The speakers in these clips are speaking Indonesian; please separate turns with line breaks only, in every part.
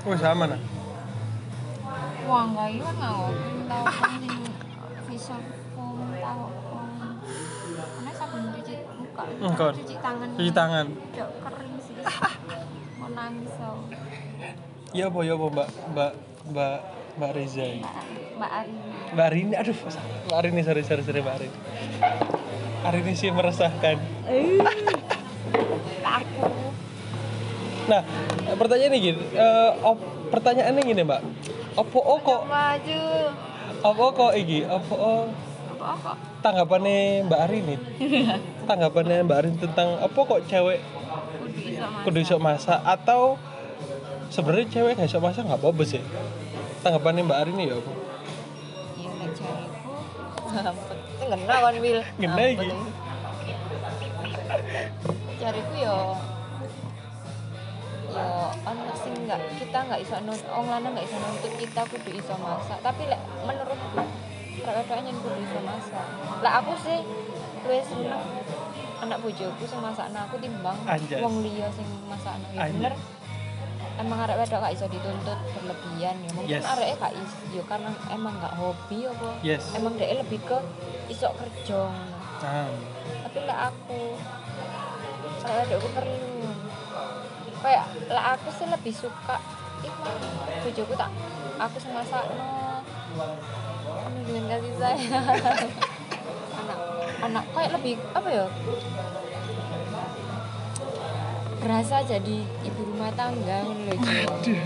Oh sama nah.
Wah nggak hilang nggak ngopi tahu kan penting facial foam tahu hmm. karena sabun cuci muka
Enggak.
cuci tangan
Cuci tangan.
udah kering sih mau nangis aku
Iya apa ya apa Mbak Mbak Mbak Mbak Reza. ini?
mbak mbak Arini
Mbak Rini aduh salah. Mbak Rini sorry sorry sorry Mbak Rini. Arini sih meresahkan.
Eh, aku
Nah, pertanyaannya gini, eh, op- pertanyaannya gini, Mbak. Apa o kok
maju
apa o kok iki? Apa o
apa apa
tanggapannya Mbak Arini? Tanggapannya Mbak Arini tentang apa kok cewek
kudu iso masak
kudu iso masak atau sebenarnya cewek gak iso masak nggak apa-apa sih tanggapannya mbak Arini ya apa
ya nek jariku ampun ngena kan wil
Ngena iki.
Ampun. jariku yo yo ono sing enggak kita enggak iso nuntut wong lanang enggak iso nuntut kita kudu iso masak tapi lek menurutku kadang-kadang yang kudu iso masak lah aku sih luwih seneng anak bojoku sing masakna aku timbang
Anjas.
wong liya sing masakna ya
Anjas.
bener emang arek wedok gak iso dituntut berlebihan ya mungkin
Yes.
areke gak iso ya karena emang gak hobi apa
Yes.
emang dia lebih ke iso kerja ngono.
nah
tapi lah aku kalau ada aku perlu kayak lah aku sih lebih suka iku bojoku tak aku sing masakno anu dengan kasih sayang anak anak kayak lebih apa ya berasa jadi ibu rumah tangga ngono lho Jo.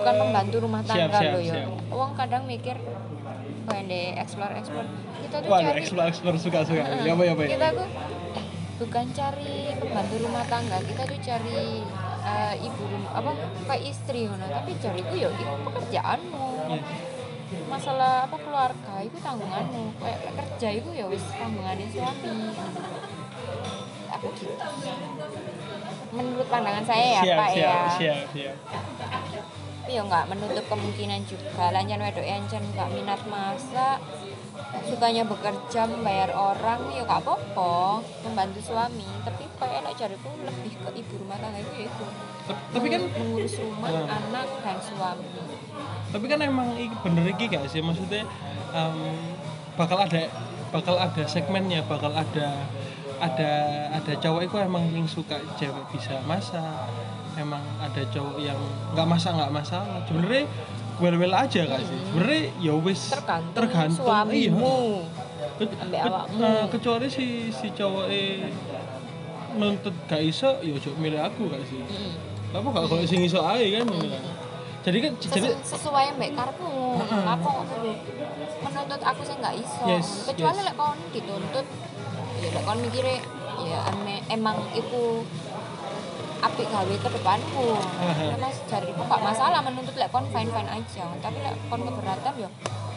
bukan pembantu rumah
Siap,
tangga
siap,
loh ya
siap.
uang kadang mikir kayak deh explore explore kita tuh
waduh
cari
eksplor eksplor suka suka ya apa ya apa ya
Hmm. kita tuh eh, bukan cari pembantu rumah tangga kita tuh cari eh, ibu rumah apa kayak istri ngono tapi cariku ya itu pekerjaanmu
Yes.
masalah apa keluarga itu tanggunganmu kayak kerja itu ya wis tanggungannya suami aku gitu menurut pandangan saya ya
siap
pak
siap
ya
siap siap
tapi ya nggak menutup kemungkinan juga lanjut wedok encen nggak minat masak sukanya bekerja membayar orang ya nggak apa-apa membantu suami tapi kayak enak cariku lebih ke ibu rumah tangga itu ya itu
Tep- tapi kan
mengurus rumah
Hmm.
anak dan suami
tapi kan emang i- bener iki gak sih maksudnya em, bakal ada bakal ada segmennya bakal ada ada ada cowok itu emang yang suka cewek bisa masak emang ada cowok yang nggak masak nggak masalah sebenarnya well well aja gak sih sebenarnya ya wis
tergantung,
tergantung
suamimu
iya. Ke-
ambek
ke-
awakmu.
eh, kecuali si si cowok menuntut gak iso ya ojo milih aku gak sih
Mm.
apa gak kalau sing iso aja kan jadi kan
Sesu-
jadi
sesuai mbak karepmu apa aku kudu menuntut aku sih nggak iso
Yes,
kecuali
yes.
lek kon dituntut ya lek kon mikire ya ame- emang iku apik gawe ke depanku
Aha.
karena jariku gak masalah menuntut lek kon fine fine aja tapi lek kon keberatan ya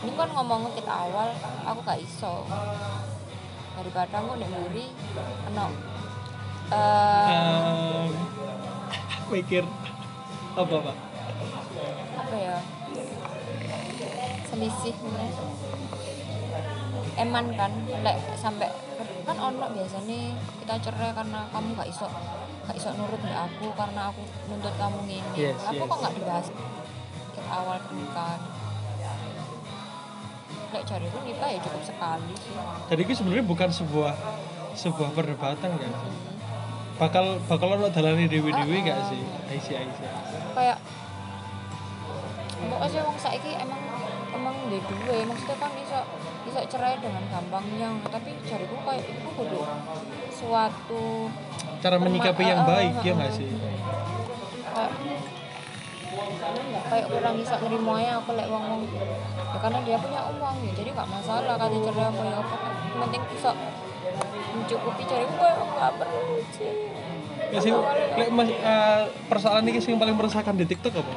ini kon ngomong kita awal aku gak iso daripada aku nek mburi kena eh
Ehm, mikir apa pak
apa ya selisih meneh. eman kan lek sampai kan ono biasanya kita cerai karena kamu gak iso gak iso nurut mbak aku karena aku nuntut kamu ngene
Yes,
Lah, apa
yes.
kok gak dibahas ke awal pernikahan lek cari pun nikah ya cukup sekali sih
jadi itu sebenarnya bukan sebuah sebuah perdebatan kan
Hmm.
bakal bakal lo dalani dewi dewi gak
Ah, ah.
sih Aisyah Aisyah
kayak pokoknya sih wong saiki emang emang di duwe maksudnya kan bisa bisa cerai dengan gampangnya tapi jariku kayak itu kudu suatu
cara menyikapi yang
Ah, ah,
baik ya
ah,
gak
ah.
sih
kayak kayak kurang bisa nerimonya aku lek wong wong ya karena dia punya uang ya jadi nggak masalah kan cerai apa ya apa Yang penting bisa mencukupi cariku kayak nggak perlu sih
ya sih lek mas eh, persoalan ini sih yang paling meresahkan di TikTok apa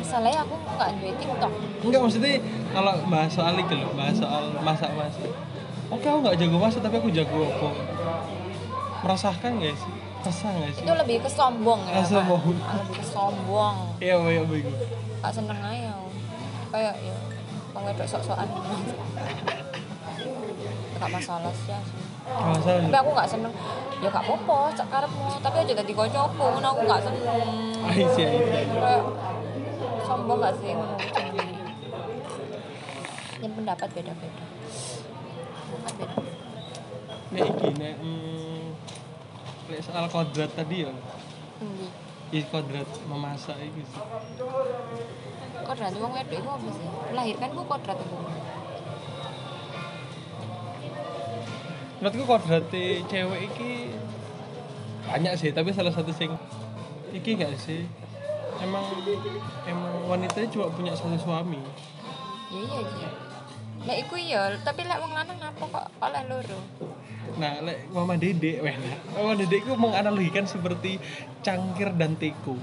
masalahnya aku nggak duwe tiktok
enggak maksudnya kalau bahas soal itu loh bahas soal masak masak oke aku nggak jago masak tapi aku jago apa meresahkan gak sih resah gak sih
itu lebih ke sombong ya
Asal
Pak.
mau.
lebih ke sombong
iya iya iya
gak seneng aja aku. kayak ya kalau wedok sok-sokan gak masalah sih asli.
alasan
tapi aku gak seneng ya gak apa-apa cak karepmu tapi aja tadi kocokku ngono aku gak seneng
Aisyah Aisyah
kayak sombong gak sih ngono yang pendapat beda-beda Pendapat beda.
nek iki nek mm, nek soal kodrat tadi ya
Endi?
ya kodrat memasak iki sih
kodrat wong wedok iku apa sih melahirkan ku kodrat iku
menurutku kodrate cewek iki banyak sih tapi salah satu sing iki gak sih emang emang wanita cuma punya satu suami
ya iya iya Lah iku iya, tapi lek wong lanang apa kok oleh loro?
nah lek mama dedek weh nah. mama dedek itu menganalogikan seperti cangkir dan teko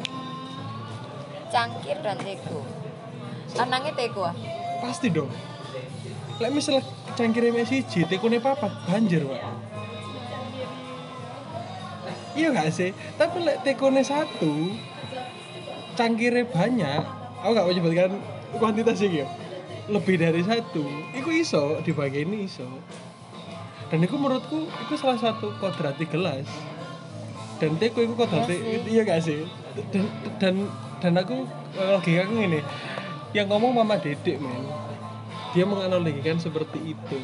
Cangkir dan teko. Lanange teko ah.
pasti dong lek misal cangkirnya Messi J tekone papat banjir wah iya gak sih tapi lek tekone satu cangkirnya banyak aku gak menyebutkan kuantitas iki ya lebih dari satu iku iso dibagi ini iso dan itu menurutku itu salah satu kodrati gelas dan teko itu kodrati
Iya sih.
iya gak sih dan dan dan aku logika aku ini yang ngomong mama dedek men dia menganalogikan seperti itu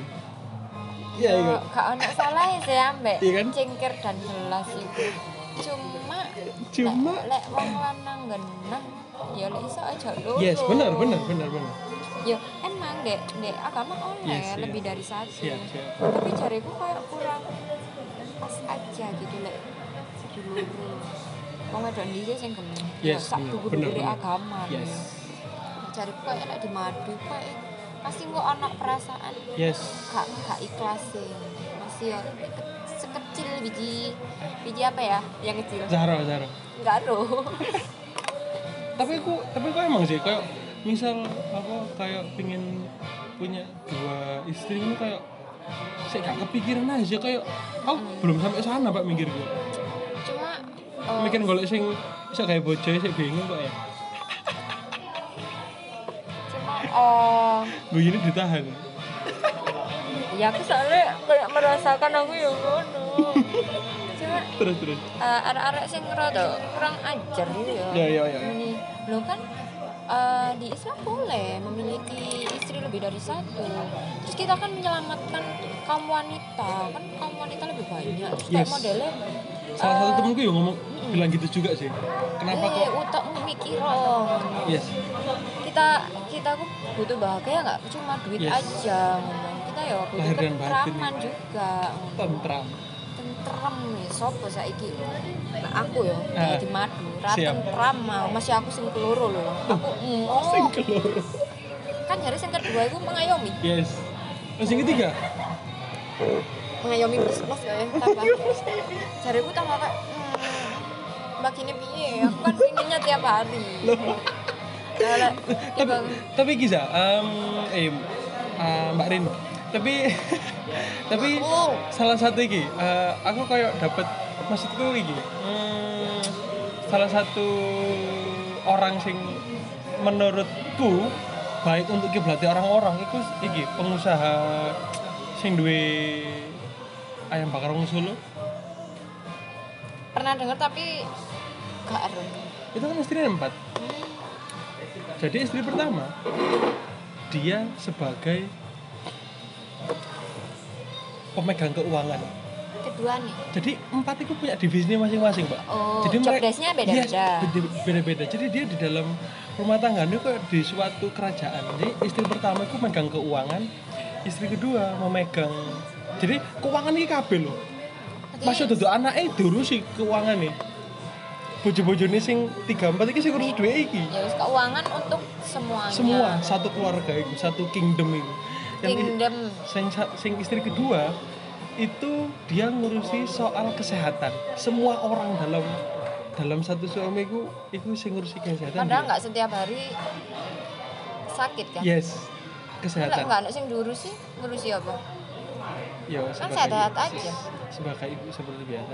iya iya
Gak ono salah sih ambek
Iya kan?
cengkir dan gelas iku. Cuma
cuma
lek- lek wong lanang geneng ya lek iso aja loro.
yes benar benar benar benar
Ya emang dek dek agama ono
Yes,
ya
iya.
lebih dari satu.
siap siap
Tapi jariku kayak kurang pas aja gitu lek dulur. Wong wedok ndise sing geneng. Ya,
Yes,
sak
bener,
dulur-dulure
bener, bener.
agama. ya.
yes
Jariku kayak lek dimadu kayak pasti kok ono perasaan
yes
gak gak ikhlasin masih ya ke- sekecil biji biji apa ya yang kecil
Zahra Zahra
enggak aduh
tapi aku tapi aku emang sih kayak misal apa kayak pingin punya dua istri itu kayak saya gak kepikiran aja kayak aku belum sampai sana pak mikir gue
cuma eh,
mikir golek sing bisa kayak bocah sih bingung pak ya
cuma eh,
gue ini ditahan
ya aku soalnya kayak merasakan aku yang ngono cuma
terus terus
eh, arek-arek sing ngerodo kurang ajar gitu ya
Ya, ya, ya, ya.
Ini, lo kan eh, di Islam boleh memiliki istri lebih dari satu terus kita kan menyelamatkan kaum wanita kan kaum wanita lebih banyak terus kayak
Yes.
modelnya
salah satu temenku yang ngomong bilang gitu juga sih kenapa
eh,
kok
utokmu mikir dong.
yes
kita kita ku butuh bahagia nggak cuma duit
Yes.
aja ngomong kita ya butuh
Lahir dan batin.
ketentraman juga ngomong.
tentram
tentrem nih sopo saiki nah, aku ya
Ah.
kayak di madu ra
Siap.
tentrem mau masih aku sing keloro lho aku
sing
mm,
keloro
kan jare sing kedua iku mengayomi
yes terus yang ketiga
mengayomi plus plus ya tambah jare ku tambah kayak hmm, mbak ini piye aku kan pinginnya tiap hari Lah, lah,
tapi
tiba-
tapi Giza em eh eh, Mbak Rin tapi tapi
Aku.
salah satu iki eh, aku kayak dapat maksudku iki hmm, salah satu orang sing menurutku baik untuk kiblatnya orang-orang itu iki pengusaha sing duwe ayam bakar wong Solo
pernah dengar tapi gak ero.
itu kan istrinya empat jadi istri pertama dia sebagai pemegang keuangan
Kedua nih.
jadi empat itu punya divisinya masing-masing pak
Oh,
jadi
job desk-nya beda-beda.
Yes, beda- beda-beda jadi dia di dalam rumah tangga ini kayak di suatu kerajaan jadi istri pertama itu memegang keuangan istri kedua memegang jadi keuangan ini kabel loh
Berarti
maksud duduk anaknya diurusi keuangan nih bojo-bojo ini sing tiga empat ini sing urus dua iki
ya wis keuangan untuk semuanya.
semua satu keluarga itu satu kingdom itu yang
Iya. Kingdom.
sing, sing istri kedua itu dia ngurusi soal kesehatan semua orang dalam dalam satu suami itu itu sing ngurusi kesehatan Iya.
Padahal
dia.
nggak setiap hari sakit kan.
yes
Enggak
kesehatan
enggak sing diurusi, ngurusi apa?
ya
Kan
sebagai-
sehat aja.
sebagai ibu seperti biasa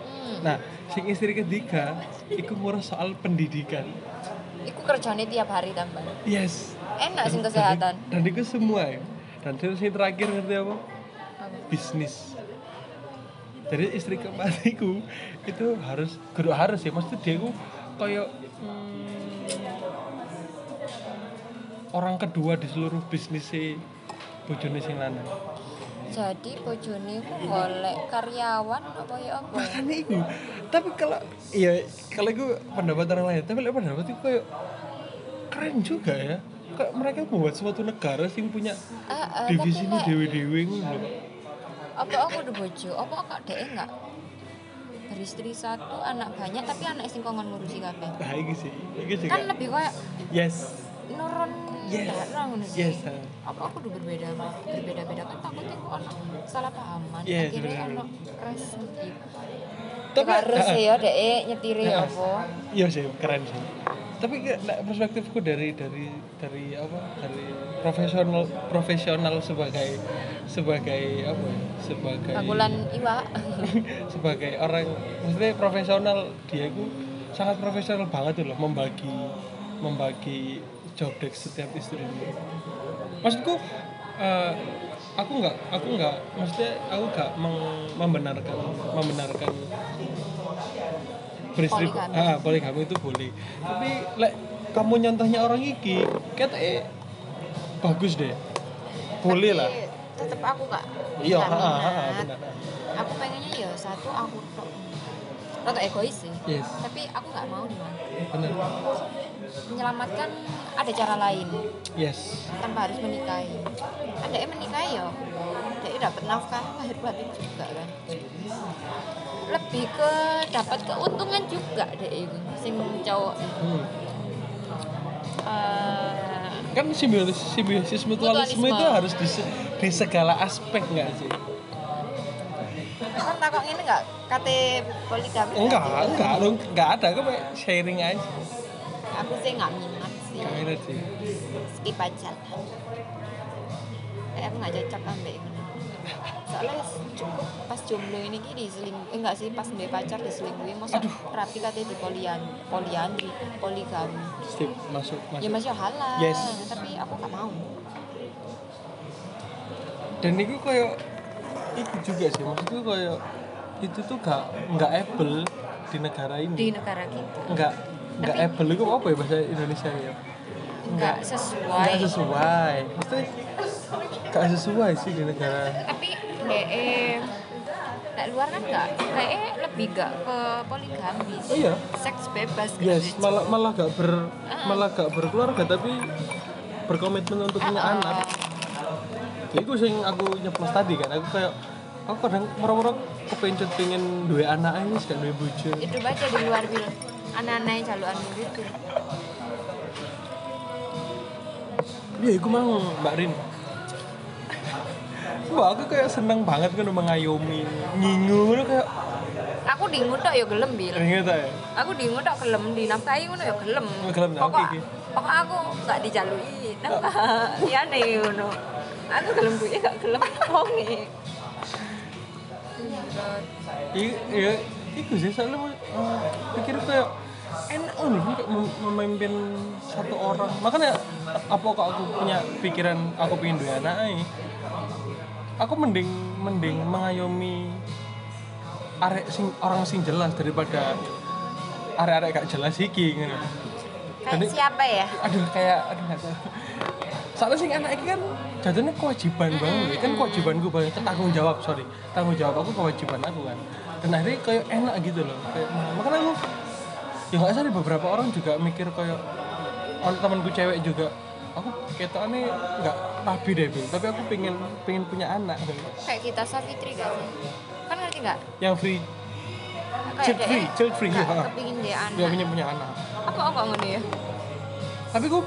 Hmm.
nah sing istri ketiga itu ngurus soal pendidikan
Iku kerjanya tiap hari tambah.
yes
Enak sing
Dan-
kesehatan.
dan, dan itu semua ya dan terus yang terakhir ngerti apa
Apa?
bisnis jadi istri keempat iku itu harus guru harus ya maksudnya dia ku koyo orang kedua di seluruh bisnisnya bojone sing lanang
jadi bojone ku golek karyawan apa ya apa
makanya itu tapi kalau iya kalau itu pendapat orang lain tapi lek pendapat itu kayak keren juga ya kayak mereka membuat suatu negara sih yang punya
Ah, ah, tapi
divisi ini
lek
dewi-dewi ngono lho.
apa aku udah bojo apa kok deh enggak beristri satu anak banyak tapi anak sing kongon ngurusi kabeh
nah ini sih ini juga
kan lebih kayak
yes
nurun
Yes.
darah ngono sih.
yes ah.
apa aku udah berbeda berbeda beda kan takutnya aku anak salah pahaman
Iya,
akhirnya
sebenarnya.
anak res gitu
Tapi-
tapi harus
Ah, ah.
ya deh nyetiri
Ah, ah.
ya apa
iya sih keren sih tapi ke- nek perspektifku dari dari dari apa dari profesional profesional sebagai sebagai apa ya sebagai
bakulan iwak
sebagai orang maksudnya profesional dia itu sangat profesional banget tuh loh membagi membagi job desk setiap istrinya maksudku eh, aku nggak aku nggak maksudnya aku nggak meng- membenarkan membenarkan beristri
Poligami.
ah poligami itu boleh tapi lek kamu nyontohnya orang iki kata bagus deh boleh lah
tetap aku gak
iya
gak
ah, ah, ah,
minat.
benar
aku pengennya ya satu aku tok rada egois sih
yes
tapi aku nggak mau gimana
benar
menyelamatkan ada cara lain
yes
tanpa harus menikahi ada yang menikahi ya ada yang dapat nafkah lahir batin juga kan lebih ke dapat keuntungan juga deh itu sing cowok
Hmm.
eh,
kan simbiosis simbiosis mutualisme itu
Mutualisme.
harus di, se- di segala aspek nggak sih
kan takok ini nggak kate poligami
enggak
berarti.
enggak lo enggak ada kok Pak. sharing aja
aku sih nggak minat sih
Nggak minat sih
skip aja lah kayak aku nggak cocok ambek ini soalnya cukup pas jomblo ini ki diseling eh, enggak sih pas mbak pacar diselingkuhi masa rapi katanya di polian poliandri poligami
Steve masuk
ya
masuk
masih halal
Yes.
tapi aku nggak mau
dan itu kayak itu juga sih maksudku kayak itu tuh gak nggak able di negara
di
ini
negara kita
nggak nggak
Tapi-
able itu apa ya bahasa Indonesia ya
nggak
nggak
sesuai
sesuai maksudnya nggak sesuai sih di negara
tapi deh nggak luar kan nggak deh lebih nggak ke poligami
oh iya
seks bebas gitu
Yes, malah malah gak ber malah gak berkeluarga tapi berkomitmen untuk punya anak. Ya itu sing aku nyeplos tadi kan, aku kayak aku kadang merem-merem kepengen pengen dua anak ini gak dua bojo.
itu baca di luar bil anak-anak jaluan gitu
Ya iku mang Mbak Rin. Wah, aku kayak seneng banget kan mengayomi, nyingu ngono kayak
aku dingu tok ya gelem bil
ringet ae.
aku dingu tok gelem dinafkahi ngono ya gelem
Oh, gelem, nah,
pokok
oke, oke.
pokok aku gak dijalui nafkah liyane ngono aku gelem duwe gak gelem e. wonge
Iya, iya, itu sih soalnya eh, pikir kayak enak nih kayak mem- memimpin satu orang. Makanya apa kok aku punya pikiran aku pengen dua anak ae. Aku mending mending mengayomi arek sing orang sing jelas daripada arek-arek gak jelas iki ngono.
kayak
Jadi-
siapa ya
Aduh kayak aduh gak tahu. Soalnya sing anak iki kan jatuhnya kewajiban banget, ya. kan kewajiban gue banget, tanggung jawab sorry, tanggung jawab aku kewajiban aku kan. Dan akhirnya kayak enak gitu loh, kayak nah, makanya aku ya nggak sadar beberapa orang juga mikir kayak orang temanku cewek juga aku ketokannya nggak rabi deh Bil. tapi aku pengen pengen punya anak
kayak kita Savitri gak sih kan ngerti gak
yang free
kayak
child free
dia
child free ya
kepingin dia
dia
anak
punya punya anak
apa apa ngono ya
tapi gue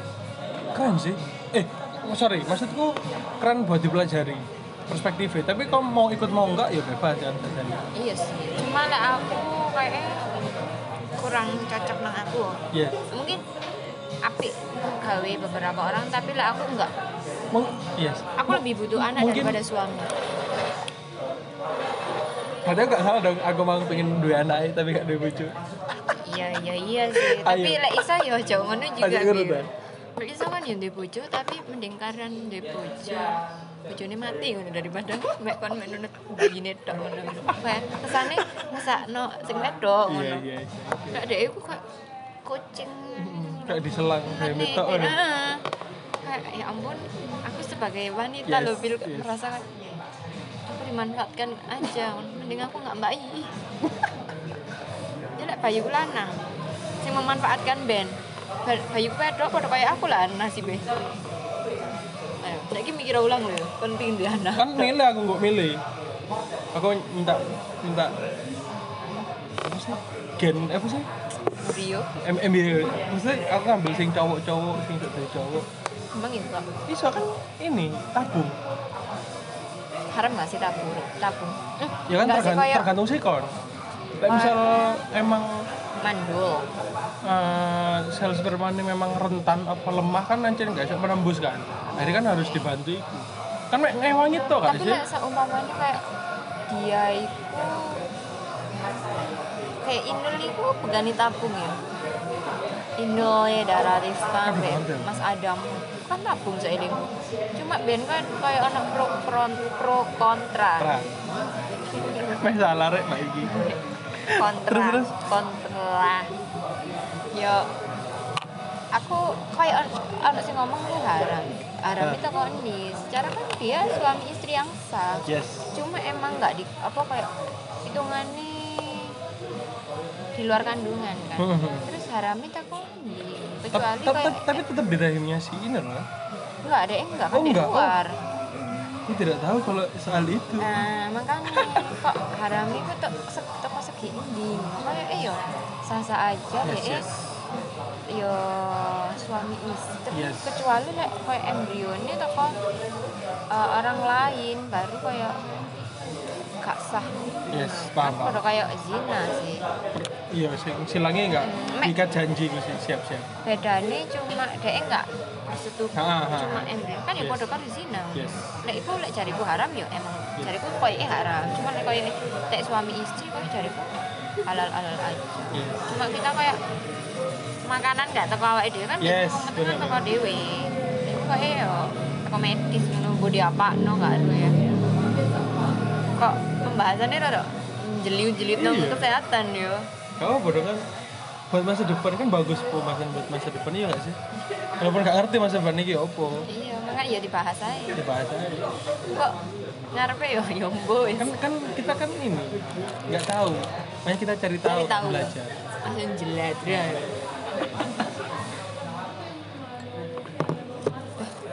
keren sih eh sorry maksudku keren buat dipelajari perspektifnya tapi kalau mau ikut mau enggak ya bebas kan katanya.
iya sih cuma lah aku kayaknya kurang cocok nang aku
ya
mungkin apik gawe beberapa orang tapi lah aku enggak
mung yes
aku lebih butuh anak
Mungkin-
daripada suami
padahal nggak salah dong aku mau pengen dua anak tapi gak dua bucu
iya iya iya sih tapi
Ayo.
lah Isa yo jauh ngono juga
Ayo, nurut,
Bil.
Bay.
berarti sama nih di bojo kan tapi mending karan di bojo bojone mati ngono daripada mek kon mek nunut begini tok ngono kayak kesane ngesakno sing wedok
iya
ngono
iya Hmm. iya.
Nggak deh, aku kayak kucing.
kayak diselang kayak
Aneh,
metok ya.
ah. Kayak, ya ampun, aku sebagai wanita
Yes,
loh, Bil,
yes.
merasa kayak, aku dimanfaatkan aja. Mending aku nggak mbak Ii. Jelek bayu lanang. Sing memanfaatkan Ben. Ba- Bayu pedok pada kayak aku lah nasibnya. Ayo, lagi mikir ulang loh, penting dia anak.
kan milih aku nggak milih aku minta minta apa sih gen apa sih
Rio,
M MBA maksudnya aku ngambil sing cowok-cowok sing gak dari cowok
emang iya, itu
bisa kan ini tabung
haram nggak sih tabung? Tabung. Eh,
ya kan
nggak sih,
tergan-
kayak
tergantung sikon Lek
Ah.
misal emang
mandul.
eh, sel spermanya memang rentan apa lemah kan anjir nggak bisa menembus kan akhirnya kan harus dibantu itu kan mek ngewangi itu kan
tapi
sih
nggak seumpamanya kayak dia itu kayak Indul itu pegani tabung ya Indul ya darah Rista
Aduh,
kayak
mantep.
Mas Adam kan tabung seilingku cuma Ben kan kayak anak pro, pro, pro kontra
Terang. Meh salah rek mbak Iki
kontra
Terus, terus.
kontra yo aku kayak anak sih ngomong lu haram haram
Ah.
itu kondi secara kan dia suami istri yang sah
yes
cuma emang nggak di apa kayak hitungannya di luar kandungan kan
Hmm.
terus harami tak kondi
tapi,
kecuali
tapi,
kayak
tapi tetap di rahimnya si ini loh
nggak ada yang nggak kan
Oh,
di
nggak. Oh.
luar
aku tidak tahu kalau soal itu
nah makanya kok harami itu tuh se- toko segi ini makanya eh yo sah-sah aja
yes
ya eh,
yes
yo suami istri
Yes.
kecuali lek kayak embrionnya toko eh, orang lain baru kayak gak sah
yes paham paham
Kalau kayak zina sih
iya sing silangnya enggak
Hmm, Mek.
ikat janji mesti siap siap
bedanya cuma dia enggak
Ha,
persetubuhan
ha, ha.
cuma embrio kan ya
Yes.
podo karo zina
yes
lek iku lek jariku haram ya emang
Yes.
jariku koyoke haram cuma lek koyo lek suami istri koyo jariku halal halal aja
yes
cuma kita kayak makanan enggak teko awake dhewe kan
Yes,
kepentingan
bener.
teko dhewe iku koyo ya teko medis nunggu di apa no enggak aduh ya kok pembahasannya rada jeliu-jeliu tentang
Iya.
kesehatan yo
kamu bodoh kan buat masa depan kan bagus pembahasan buat masa depan iya gak sih walaupun gak ngerti masa depan ini opo
iya makanya ya dibahas aja
dibahas aja
kok ngarepe yo yombo wis
kan kan kita kan ini nggak tahu makanya kita cari tahu,
Cari tahu.
belajar Iya.
langsung jeladra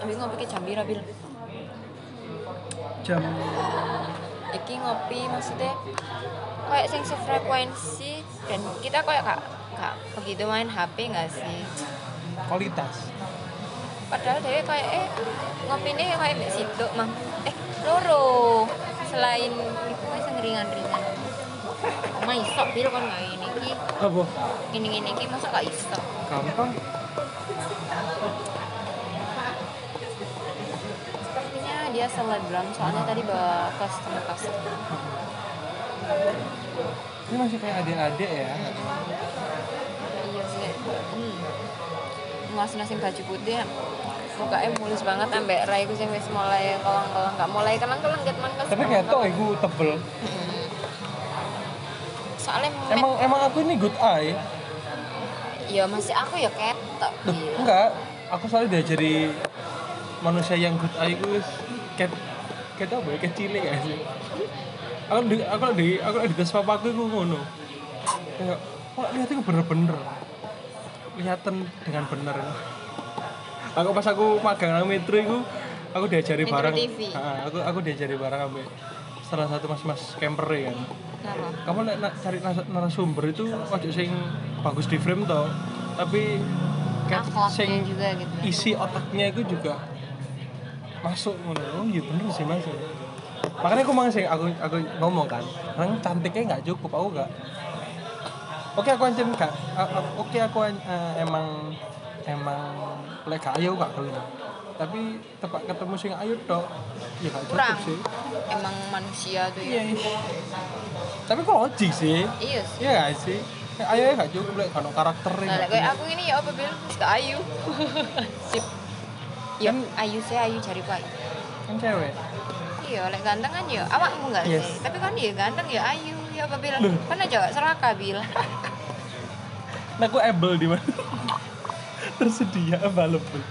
Abi Eh, ngopi ke jam pira, Bil?
jam
Iki ngopi maksudnya kayak sing sefrekuensi dan kita kayak gak, gak begitu main HP gak sih?
kualitas
Padahal dia kayak eh ngopi nih kayak mbak situ mah eh loro selain itu kayak sing ringan-ringan. Oma iso Bil kan gak ini ki
apa
ini ini ki masa gak iso?
gampang
Sepertinya dia selebgram soalnya tadi bawa customer customer.
ini masih kayak adik-adik ya
Iya sih. Hmm. Mas nasi baju putih mukanya mulus banget ambek rai ku sing wis mulai kelong-kelong nggak mulai kelong-kelong gitu man pas.
tapi ya? ngetok aku tebel
Hmm. Soalnya
emang
emang
emang aku ini good eye
ya masih aku ya ketok.
Loh,
Iya.
enggak aku soalnya diajari manusia yang good eye itu cat cat apa ya cat cilik ya sih aku di aku di aku di tes papaku itu ngono kayak wah lihat itu bener-bener kelihatan dengan bener aku pas aku magang nang metro itu aku diajari
Metro
barang
TV.
Ah, aku aku diajari barang ambil salah satu mas-mas camper ya kan
Kenapa?
kamu nek nak cari nas- narasumber itu ojo sing bagus di frame toh tapi cat
Akhlaknya
sing
juga gitu.
isi otaknya itu juga masuk ngono oh iya bener sih masuk makanya aku mang sing aku aku ngomong kan orang cantiknya nggak cukup aku nggak oke aku anjir nggak a- a- oke aku an- eh, emang emang lek gak ayu gak gelem tapi tepat ketemu sing ayu tok ya gak cukup
Kurang.
sih
Emang manusia tuh ya.
iya iya. tapi kok logik sih
Iya sih.
Iya gak sih? Nek ayu gak cukup lek gak ono karaktere.
Nah, lek koyo aku ini ya apa bil wis gak ayu. Sip. Yo ayu sih ayu jari ku ayu.
kan cewek.
Iya, lek ganteng kan ya awakmu enggak
Yes.
sih. Tapi kan dia ganteng ya ayu, ya apa bil.
Loh.
Kan aja gak seraka bil.
Nek aku able di mana? Tersedia available.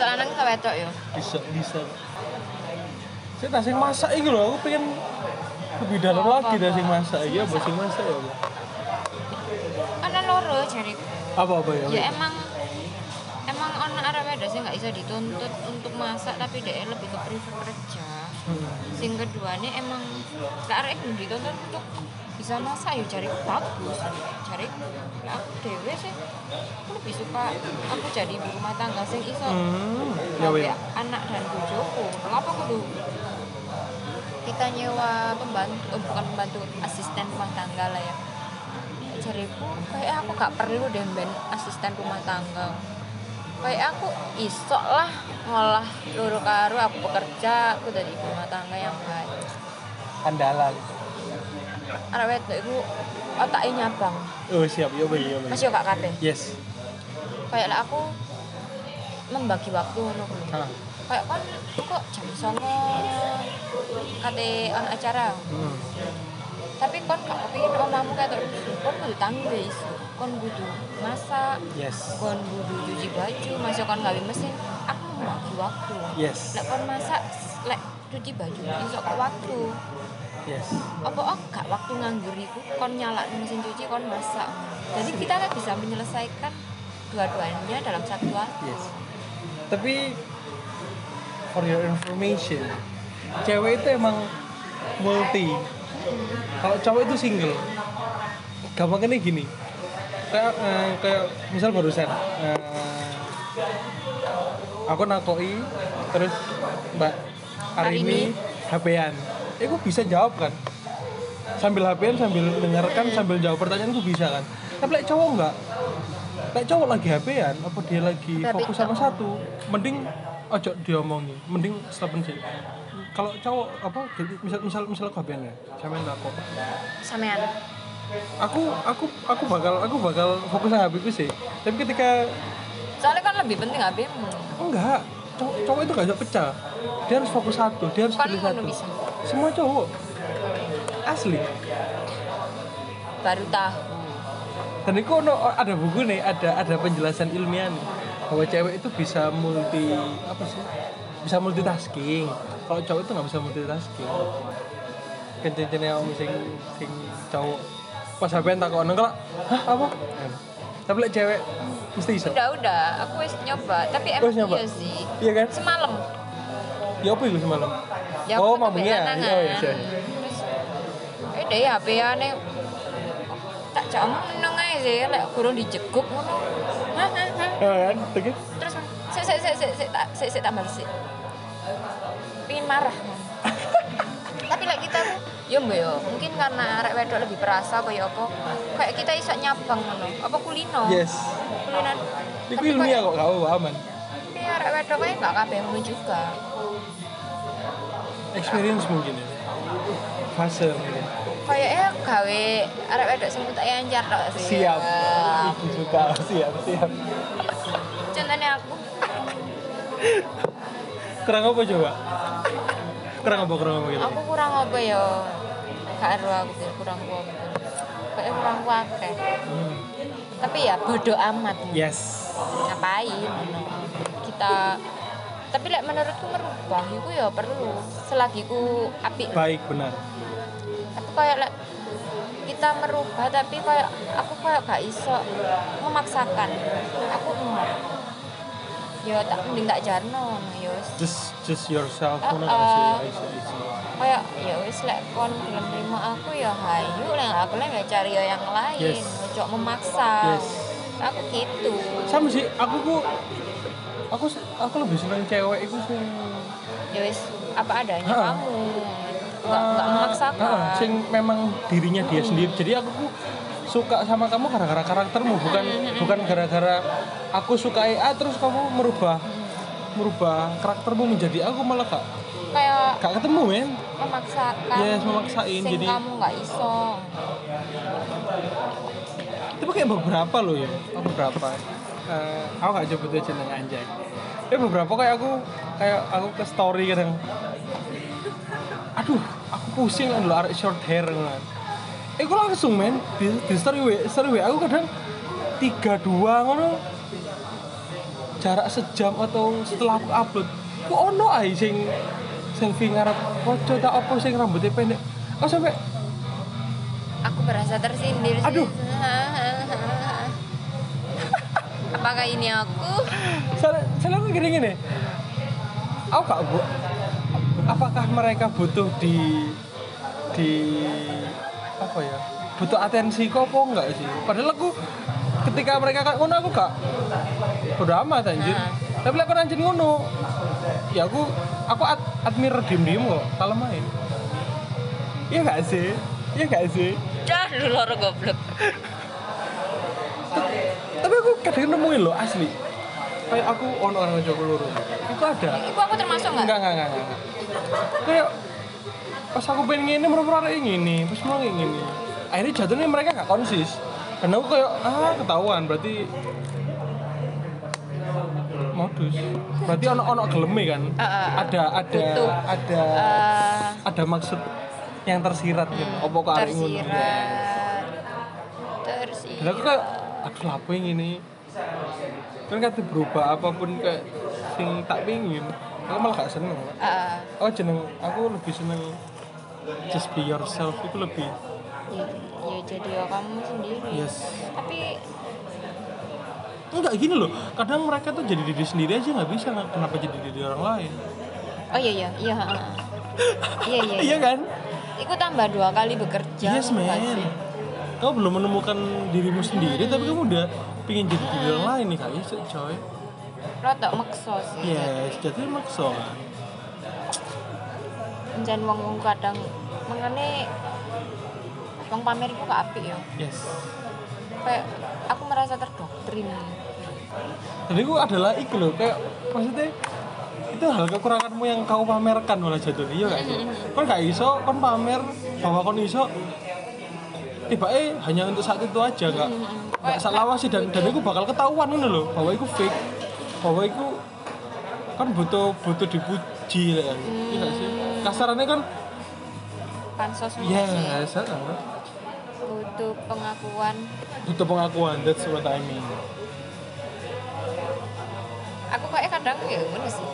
Soalnya nang wedok ya. yo.
Bisa bisa. Saya tak sing masak iki lho, aku pengen lebih dalam lagi tak sing masak iki apa sing masak ya. Bu?
Kan ana loro jari ku.
Apa apa ya?
Ya emang emang ono arek wedok sih gak iso dituntut untuk masak tapi dia lebih ke prinsip kerja.
Hmm.
Sing kedua nih emang gak arek yang dituntut untuk bisa masak ya jari ku bagus. Jari ku, lah aku dewe sih aku lebih suka aku jadi ibu rumah tangga sing iso
Hmm. Ya
Tapi
weh.
anak dan bojoku kenapa kudu kita nyewa pembantu eh, bukan pembantu asisten rumah tangga lah ya jariku kayak aku gak perlu deh ben asisten rumah tangga kayak aku isok lah ngolah luru karu aku bekerja aku dari ibu rumah tangga yang baik
Andalan.
arah wedok itu otaknya nyabang
Oh siap, ya weh, ya weh.
masih gak kabeh
Yes.
kayak lah aku membagi waktu ngono kuwi.
Ah.
kayak kan kok jam songo kate on acara
Hmm.
tapi kon gak kepingin omamu kayak terus kon kudu tanggung guys kon kudu masak
Yes.
kon kudu cuci baju masih kon gawe mesin aku membagi waktu
Yes.
lek kon masak lek cuci baju besok kok waktu
Yes.
apa oh gak waktu nganggur iku kon nyala mesin cuci kon masak jadi kita kan bisa menyelesaikan dua-duanya dalam satu waktu
Yes. Tapi for your information, cewek itu emang multi. Kalau cowok itu single. Gampangnya gini. Kayak eh, kayak misal barusan eh, aku nakoi terus Mbak Arimi HP-an. Eh, aku bisa jawab kan? Sambil HP-an sambil dengarkan sambil jawab pertanyaan aku bisa kan? Tapi lek cowok enggak. Lek cowok lagi HP-an apa dia lagi
Tapi
fokus sama satu, mending ojo diomongin, mending stop aja. Kalau cowok apa misal misal misal aku HP-an ya, sampean takut.
sampean
Aku aku aku bakal aku bakal fokus sama HP ku sih. Tapi ketika
soalnya kan lebih penting HPmu
enggak cowok, cowok itu gak bisa pecah dia harus fokus satu dia harus
Kan
pilih
ngono
satu
bisa.
semua cowok asli
baru tahu
dan itu ono, ada buku nih ada ada penjelasan ilmiah nih bahwa cewek itu bisa multi apa sih bisa multitasking kalau cowok itu nggak bisa multitasking kencing-kencing yang sing sing cowok pas HP tak kok nengkel hah apa Nah, tapi lek cewek mesti iso
udah udah aku wis nyoba tapi emang
Wis nyoba?
iya sih
iya kan
semalam
ya apa itu semalam
ya
oh
aku ketemu
mabuknya
lanangan.
oh iya iya.
terus eh deh HP ane tak jauh meneng aja sih lek kurang dijeguk ngono Hah, hah, hah.
oh kan Oke.
terus sik sik sik sik sik tak sik sik tak bales sik pingin marah ngono. tapi lek kita tuh yo mbak yo mungkin karena arek wedok lebih perasa kaya apa kayak kita iso nyabang ngono apa kulino
yes
kulinan
Iya. Iku
Tapi
ilmiah
kayak-
kok gak apa aman.
Tapi arek wedok kayak nggak kabeh mulu juga
Experience mungkin ya. Fase mungkin.
kayaknya gawe arek wedok sing tak anjar tok sih
Siap.
Wah.
Iki suka siap siap.
contohnya aku
Kurang apa coba? Kurang apa kurang apa gitu?
aku kurang apa ya gak ero aku sih kurang kuat kayak kurang kuat
Hmm.
tapi ya bodoh amat
Yes.
ngapain kita tapi lek menurutku merubah itu ya perlu selagi ku apik
Baik benar.
tapi kayak lek kita merubah tapi kayak aku kayak gak iso memaksakan aku mau ya tak mending tak jarno ya wis
Just just yourself
Ah,
ngono
ah.
sih? Iya, iya, iya.
kayak ya wis lek kon gelem nrimo aku ya hayu lek aku lek ya cari ya yang lain
Yes.
ojo memaksa
Yes.
aku gitu
Sama sih, aku ku aku se- aku lebih seneng cewek itu sih.
ya wis apa adanya
Ah.
kamu nggak nggak memaksakan
Ah, sing memang dirinya dia sendiri. Jadi aku ku suka sama kamu gara-gara karaktermu bukan bukan gara-gara aku suka A terus kamu merubah merubah karaktermu menjadi aku malah gak,
kayak
gak ketemu men
memaksakan
Yes, memaksain,
sing
jadi-
kamu nggak iso
tapi kayak beberapa loh ya oh, beberapa Eh, aku gak coba tuh jeneng anjay eh beberapa kayak aku kayak aku ke story kadang aduh aku pusing kan lho arek short hair kan eh aku langsung men di, di story W story W aku kadang tiga dua ngono jarak sejam atau setelah aku upload ku ono ae sing selfie ngarep pojok tak opo sing rambutnya pendek aku sampai
Aku merasa tersindir sih.
Aduh.
Apakah ini aku?
Soalnya, soalnya aku gini gini. Aku gak bu. Apakah mereka butuh di di apa ya? Butuh atensi kok apa enggak sih? Padahal aku ketika mereka kayak ngono aku gak bodo amat anjir.
Nah.
Tapi aku anjir ngono. Ya aku aku ad, admir diem diem kok, kalau main. Iya gak sih? Iya gak sih?
Dah lu loro goblok.
Tapi aku kadang nemuin loh asli. Kayak aku on orang Joko Loro. Itu ada.
Ibu aku termasuk
Enggak,
nggak?
enggak, enggak, enggak. Kayak pas aku pengen ngene merem-merem kayak ngene, pas mau kayak ngene. Akhirnya jatuhnya mereka gak konsis. Karena aku kayak ah ketahuan berarti modus. Berarti ono-ono geleme kan.
Ah, ah, ah.
Ada ada
Butuh.
ada
Eh, Hmm,
ada maksud yang tersirat gitu. Opo kok arek ngono.
tersirat.
Dan aku
Tersirat.
kayak aduh lapo yang ini. Kan kata berubah apapun kayak sing tak pingin. Aku malah gak seneng.
Ah,
oh jeneng aku lebih seneng just be yourself itu lebih
ya, ya jadi ya kamu sendiri.
yes
Tapi
enggak gini loh kadang mereka tuh jadi diri sendiri aja nggak bisa nggak- kenapa jadi diri orang lain
oh iya iya iya. ha, ha. Iya iya.
iya kan
Iku tambah dua kali bekerja.
yes man
nggak sih?
kamu belum menemukan dirimu sendiri tapi kamu udah pingin jadi diri orang lain nih kak yes coy
Rotok maksa sih.
yes jadi makso
Njen wong-wong kadang mengene wong pamer iku gak apik ya.
yes
Kayak aku merasa terdoktrin.
jadi aku adalah iku loh kayak maksudnya itu hal kekuranganmu yang kau pamerkan malah jatuhnya iya gak sih kan gak iso kan pamer bahwa kon iso tiba eh hanya untuk saat itu aja gak gak salah sih dan dan aku bakal ketahuan kan loh bahwa aku fake bahwa aku kan butuh butuh dipuji lah kan iya gak sih kasarannya kan
Pansos
ya
yes.
salah.
butuh pengakuan.
butuh pengakuan that's what I mean
Aku kayak kadang ya ngono sih.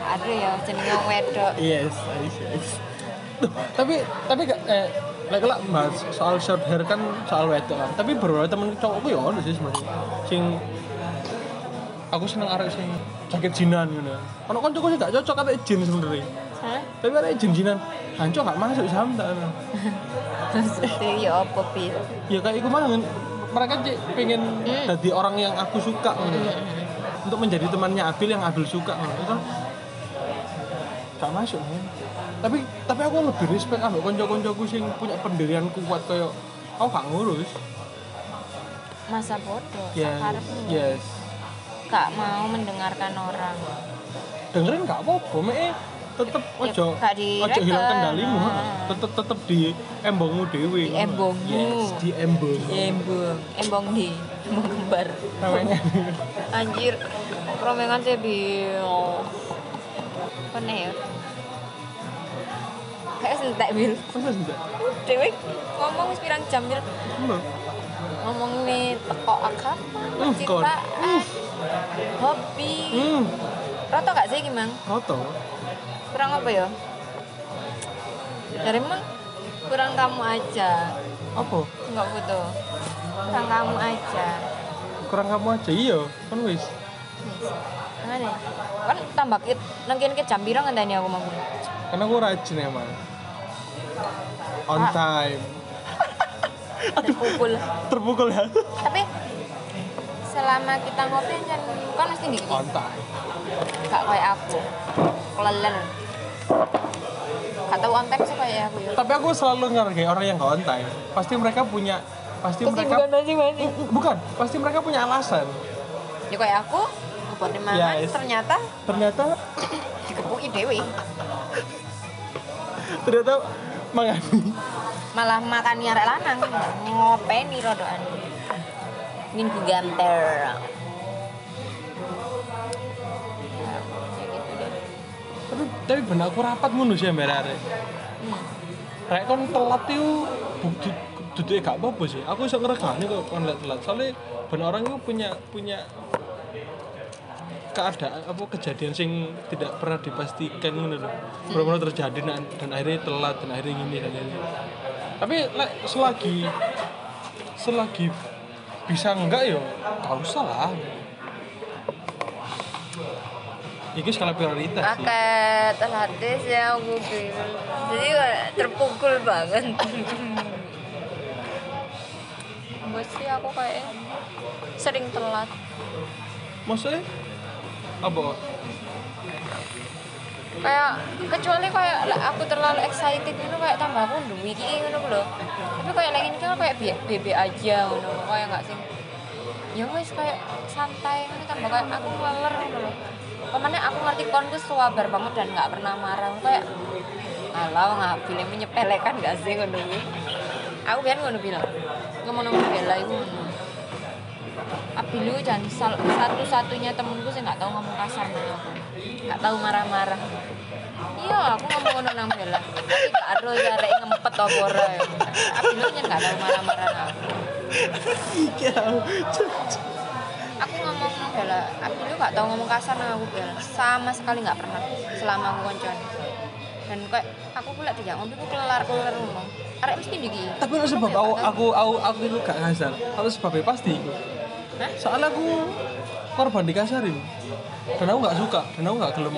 Aduh ya jenenge wong wedok.
Yes, yes, yes. Tuh, tapi tapi gak eh lek lek bahas soal short hair kan soal wedok kan. Tapi beberapa temen cowokku ya ono sih sebenarnya. Sing aku seneng arek sing jaket jinan ngono. Ono kancaku sih gak cocok kate jin sebenarnya.
Hah?
Tapi arek jin jinan hancur gak masuk sam tak. ono.
Maksudnya ya apa bil?
Ya kayak iku mah mereka cek pengen
Hmm.
jadi orang yang aku suka ngono. Untuk menjadi temannya Abil yang Abil suka ngono. Itu kan gak masuk men. Tapi tapi aku lebih respect ambek kanca-kancaku sing punya pendirian kuat kayak aku gak ngurus.
Masa bodoh,
Yes.
sakarepmu.
Yes.
Gak mau mendengarkan orang.
Dengerin gak apa-apa, mek tetep ojo
Ya, gak direken.
ojo hilang kendalimu,
Ah.
tetep tetep di embongmu dewi.
Di embongmu.
Yes, di embong.
Embong, embong di, embong kembar.
Namanya.
Anjir, rombongan saya bil. Kone ya? Kayak sentek bil.
Masa sih? Iya.
Dewi ngomong wis pirang jam bil.
Mbak.
Ngomong nih teko agama,
Uh, kon.
citaan, hobi.
Hmm,
Roto gak sih gimang?
kotor.
Kurang apa ya? Dari emang kurang kamu aja,
Apa?
nggak butuh. Kurang kamu aja.
kurang kamu aja iya kan wis
Aneh. Kan tambah kit, nangkin kit jam pirang ngenteni aku mau.
karena aku rajin emang on
Ah.
time
Terpukul.
terpukul ya
Tapi selama kita ngopi kan kan mesti dikit.
on time
Gak kayak aku. Kelelen. Gak tahu on time sih kayak aku ya.
tapi aku selalu ngargai orang yang gak on time pasti mereka punya pasti mereka
Kesibukan masing-masing.
bukan pasti mereka punya alasan
Ya kayak aku, ngepotin mangan
Ya, Yes.
ternyata
ternyata
dikepuki dewe.
ternyata mangani
malah makan arek lanang ngopeni rodoan minggu gamper Ya, ya gitu deh
Tapi tapi ben aku rapat ngono sih mbak arek.
hmm.
Rek kon telat itu duduknya gak apa-apa sih. Aku iso ngeregani kok kon lek telat. Soalnya ben orang itu punya punya keadaan apa kejadian sing tidak pernah dipastikan ngono lho. Benar-benar terjadi dan, dan akhirnya telat dan akhirnya gini dan akhirnya. Tapi lek selagi selagi bisa enggak ya gak usah lah. Iki skala prioritas sih.
Paket artis ya aku bingung. Jadi kayak terpukul banget. Gue sih aku kayak sering telat.
Maksudnya apa?
Kayak kecuali kayak lah aku terlalu excited gitu kayak tambah aku duwi iki ngono ku lho. Tapi kayak lagi ini kan kayak bi- bebe aja ngono kayak nggak sih. Ya wes kayak santai ngono tambah kayak aku ngeler ngono lho. Pemane aku ngerti kon ku sabar banget dan nggak pernah marah kayak alah nggak boleh menyepelekan gak sih ngono kuwi. Aku biar ngono bilang. Ngomong-ngomong bela iku ngono. Abilu dan Ah, sal- satu-satunya temenku sih nggak tahu ngomong kasar nang aku. Nggak tahu marah-marah. Iya, aku ngomong ngono nang Bella. Tapi gak ada arek ngempet apa ora. ya. Abilu nyen nggak tahu marah-marah nang aku.
Iya.
Aku ngomong nang Bella, Abilu gak tahu ngomong kasar nang aku Bella. Sama sekali nggak pernah selama aku koncoan. Dan kayak aku pula tidak ngombe aku kelar-kelar ngomong. Arek mesti ndiki.
tapi lo sebab aku aku aku aku itu gak kasar aku sebabnya pasti iku.
Hah?
soalnya aku korban dikasarin dan aku gak suka dan aku gak gelem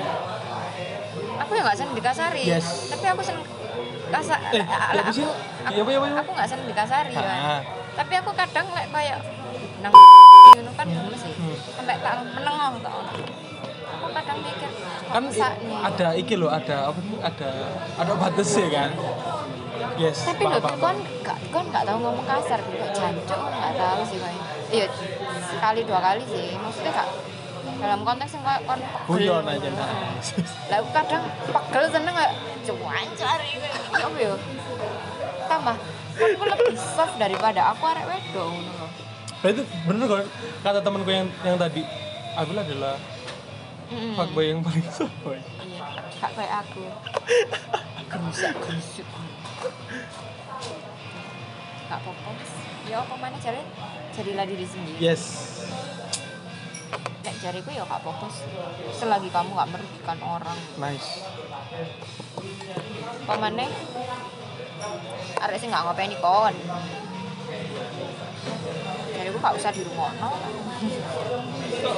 aku ya nggak seneng dikasari
Yes.
tapi aku seneng kasar
Eh, ya apa sih?
aku,
Ya apa, ya apa, ya apa?
aku nggak seneng dikasari
Ah.
kan. tapi aku kadang lek kayak nang ngono kan gemes sih
Hmm.
sampai tak menengah tak ono. aku kadang mikir
kan
kan
i-
nih
ada iki loh ada apa sih ada ada batas ya kan yes
tapi
paham,
lho
paham,
kan gak kan nggak tahu ngomong kasar juga jancok kan nggak tahu sih kan iya sekali dua kali sih maksudnya gak dalam konteks yang kayak kon
paham. guyon aja nah.
Heeh. lah aku kadang pegel seneng gak cuan cari ya apa ya tambah kan aku lebih soft daripada aku arek wedok ngono lho
Lah itu bener kan kata temanku yang yang tadi aku adalah
Mm-mm.
fuckboy yang paling soft
Iya, gak kayak aku gerusak gerusuk gak apa-apa ya apa mana cari jadilah diri
Iya.
sendiri
yes
nek jariku ya gak apa-apa sih. selagi kamu gak merugikan orang
nice
apa mana arek sih gak ngopeni kon jariku gak usah dirungokno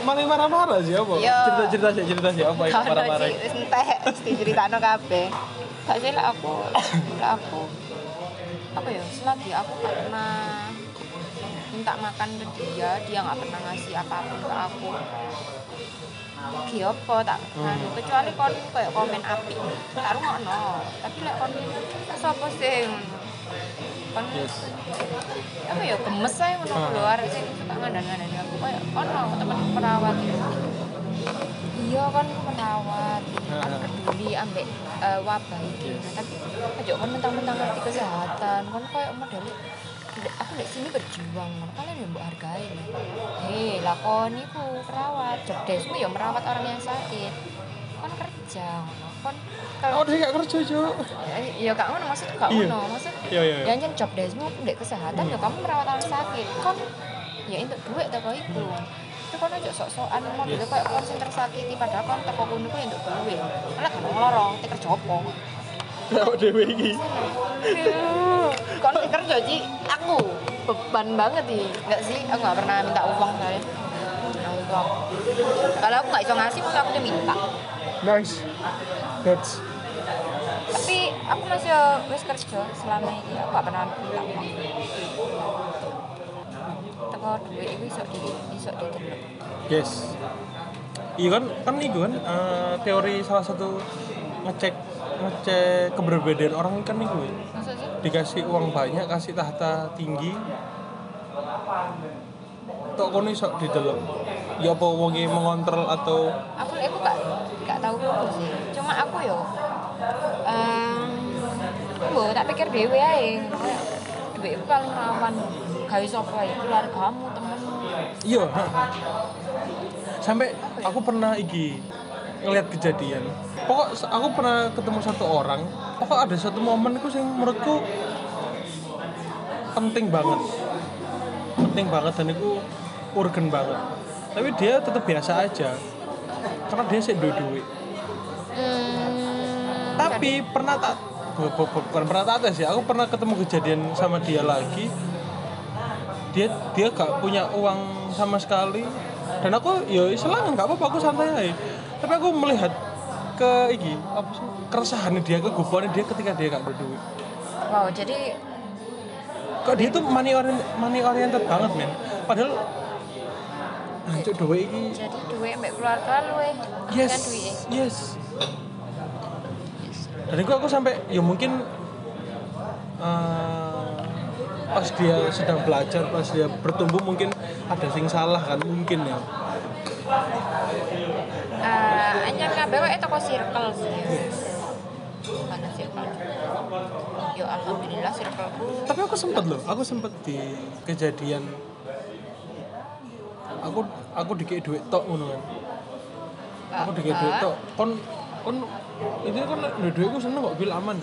malah marah-marah sih apa
Yo.
cerita-cerita sih cerita sih apa yang
Gak ada
marah-marah
sih, wis entek, wis diceritakno kabeh. Gak sih lah aku, lah aku. Apa ya, selagi aku gak pernah minta makan ke dia, dia gak pernah ngasih apapun ke aku. Ki apa tak anu kecuali kon kayak komen api. Tak rungokno. Tapi lek kon sapa sih ngono. Kon
yes
apa ya gemes ae ngono
Ah.
keluar sing suka ngandang-ngandani aku kayak ono temen perawat gitu. Iya kan perawat, kan
Ah.
peduli ambek eh, wabah iki.
Yes.
Tapi aja kan mentang-mentang ngerti kesehatan, kan kayak model "Ndek, aku di sini berjuang, ngono. kalian yang mbok hargain. Hei, lakon iku perawat, cerdasmu ya merawat orang yang sakit. Kon kerja, ngono. kon
Oh,
kalau
dia gak kerja, Cuk.
ya gak ngono maksudku gak
Iya.
ngono, maksud
Iya, iya,
ya nyen job desmu ndek kesehatan ya kamu merawat orang sakit kon ya entuk duit teko iku itu kon aja sok-sokan mau dulu
Yes.
kayak kon sing tersakiti padahal kon teko kono ku ya entuk duit malah kan ngelorong tek kerja opo
Lah dhewe iki.
kon sing kerja Ci, aku beban banget sih enggak sih aku nggak pernah minta uang kali uang kalau aku nggak iso ngasih maka aku diminta
Nice. That's
tapi aku masih wis kerja selama ini aku gak pernah minta uang teko duit itu iso di iso ditelok
yes. Iya kan kan itu kan eh, teori salah satu ngecek ngecek keberbedaan orang kan itu ya.
maksud sih
Dikasih uang banyak, kasih tahta tinggi. Tok kono iso didelok. Ya apa wonge mengontrol atau
aku aku gak gak tahu kok sih cuma aku yo em, mbok tak pikir dhewe ae. Kayak, Dhuwitku paling rawan gawe sapa ya keluargamu, temenmu.
iya ha. sampai aku pernah iki ngelihat kejadian pokok s- aku pernah ketemu satu orang pokok ada satu momen itu yang menurutku penting banget penting banget dan itu urgen banget tapi dia tetap biasa aja karena dia sih duit duit
Hmm,
tapi pernah tak bu- bu- bu- bukan pernah tak tes ya aku pernah ketemu kejadian sama dia lagi dia dia gak punya uang sama sekali dan aku ya selangan gak apa-apa aku santai aja tapi aku melihat ke iki apa sih keresahan dia kegubuannya dia ketika dia gak berduit
wow, jadi
kok dia tuh money oriented, money oriented banget men padahal hancur duit iki
jadi duit mbek keluarga luwe. kan duwike.
yes yes dan itu aku sampai ya mungkin eh, pas dia sedang belajar pas dia bertumbuh mungkin ada sing salah kan mungkin ya
Eh, anyar kabeh wae toko circle sih. Mana circle? Yo alhamdulillah circleku
tapi aku sempet loh aku sempet di kejadian aku aku dikei duit tok ngono kan aku dikei duit tok kon kon itu kon nek duwe duit aku seneng kok bil aman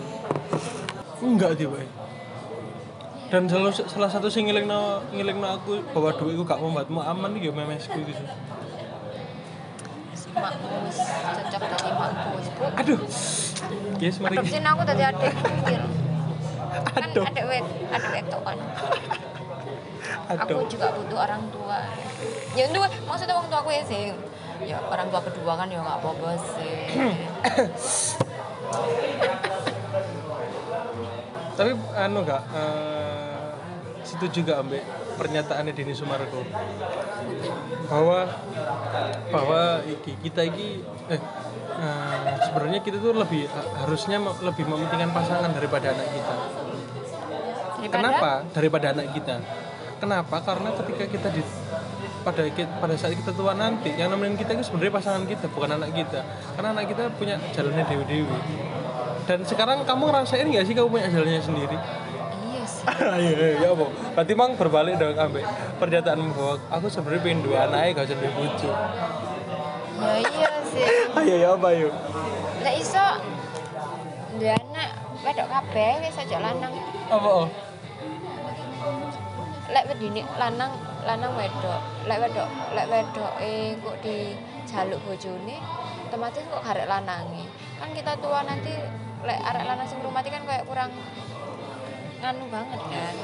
enggak sih boy dan salah, salah satu sing ngelingno ngelingno aku bahwa duitku gak membuatmu aman iki ya memesku gitu
si makmu wis cocok dadi makmu wis Bu.
aduh yes mari
Adopsi aku tadi adik pikir. Kan
Aduh.
adik wet, adik wetok kan. Aku
aduh
juga butuh orang tua. Ya itu maksudnya orang tua aku ya sih. Ya orang tua kedua kan ya nggak apa-apa sih.
Eh, tapi anu gak eh, setuju gak ambek pernyataannya Dini Sumargo bahwa bahwa iki kita iki eh eh, sebenarnya kita tuh lebih eh, harusnya me- lebih mementingkan pasangan daripada anak kita.
Daripada
Kenapa? Daripada anak kita. Kenapa? Karena ketika kita di pada ki- pada saat kita tua nanti yang nemenin kita itu sebenarnya pasangan kita bukan anak kita karena anak kita punya jalannya dewi dewi dan sekarang kamu ngerasain nggak sih kamu punya jalannya sendiri
Iya sih.
Ayo, ayo, ya apa? Berarti mang berbalik dong ambek pernyataanmu bahwa aku sebenarnya pengen dua anak aja gak usah duwe bojo.
Ya iya sih.
Ayo ya apa yuk?
Nek iso dia anak wedok kabeh wis aja lanang.
Apa? oh?
Lek wedine lanang lanang wedok. Lek wedok lek wedoke kok di jaluk bojone otomatis kok karek lanange. Kan kita tua nanti lek arek lanang sing rumati kan kayak kurang nganu banget kan.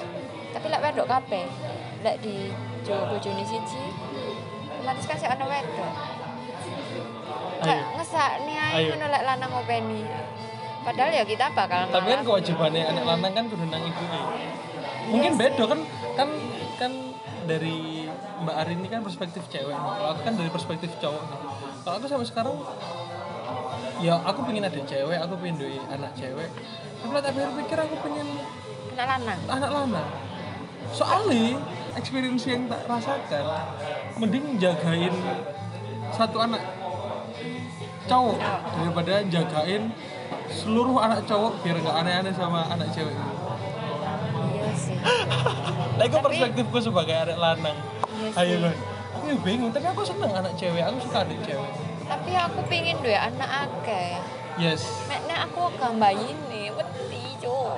Tapi lek wedok kabeh lek di jaluk bojone siji otomatis kan sik ana wedok. Kayak
Ayo.
ngesakne ae
Ayo.
ngono lek lanang ngopeni. Padahal ya kita
Tapi
bakal
kan
ngalah.
kewajibannya anak lanang kan kudu nang ibu Mungkin
Iya
beda kan kan kan dari Mbak Arin ini kan perspektif cewek. nih. Kalau aku kan dari perspektif cowok nih. Kalau aku sampai sekarang ya aku pengen ada cewek, aku pengen duwe anak cewek. Tapi lah tak pikir-pikir aku pengen
anak lanang.
anak lama soalnya experience yang tak rasakan mending jagain satu anak cowok daripada jagain seluruh anak cowok biar nggak aneh-aneh sama anak cewek
Iya sih.
nah itu perspektifku sebagai anak lanang
Iya
ayo
sih.
Bang. aku ya bingung tapi aku seneng anak cewek aku suka anak cewek
Tapi aku pingin duwe anak akeh.
yes
Nek nek aku gambayin nih, wedi cuk.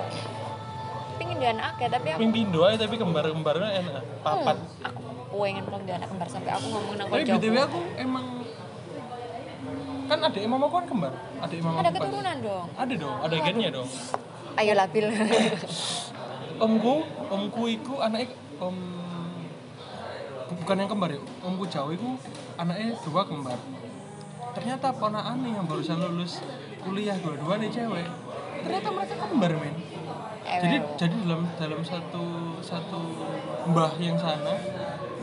Pingin duwe anak akeh tapi aku
mimpi doa tapi kembar-kembarnya enak papat
Hmm, aku pengen belum duwe anak kembar sampai aku ngomong nang
tapi
kanca.
btw aku emang kan adik mamaku kan kembar adik mamaku
Ada
pas-
keturunan dong.
Ada dong, ada gennya dong.
Ayolah bil.
Omku, omku iku anaknya om bukan yang kembar ya. Omku Jawa iku anaknya dua kembar. Ternyata ponakan yang barusan lulus kuliah dua-dua nih cewek. Ternyata mereka kembar men. Jadi
Ewel.
jadi dalam dalam satu satu mbah yang sana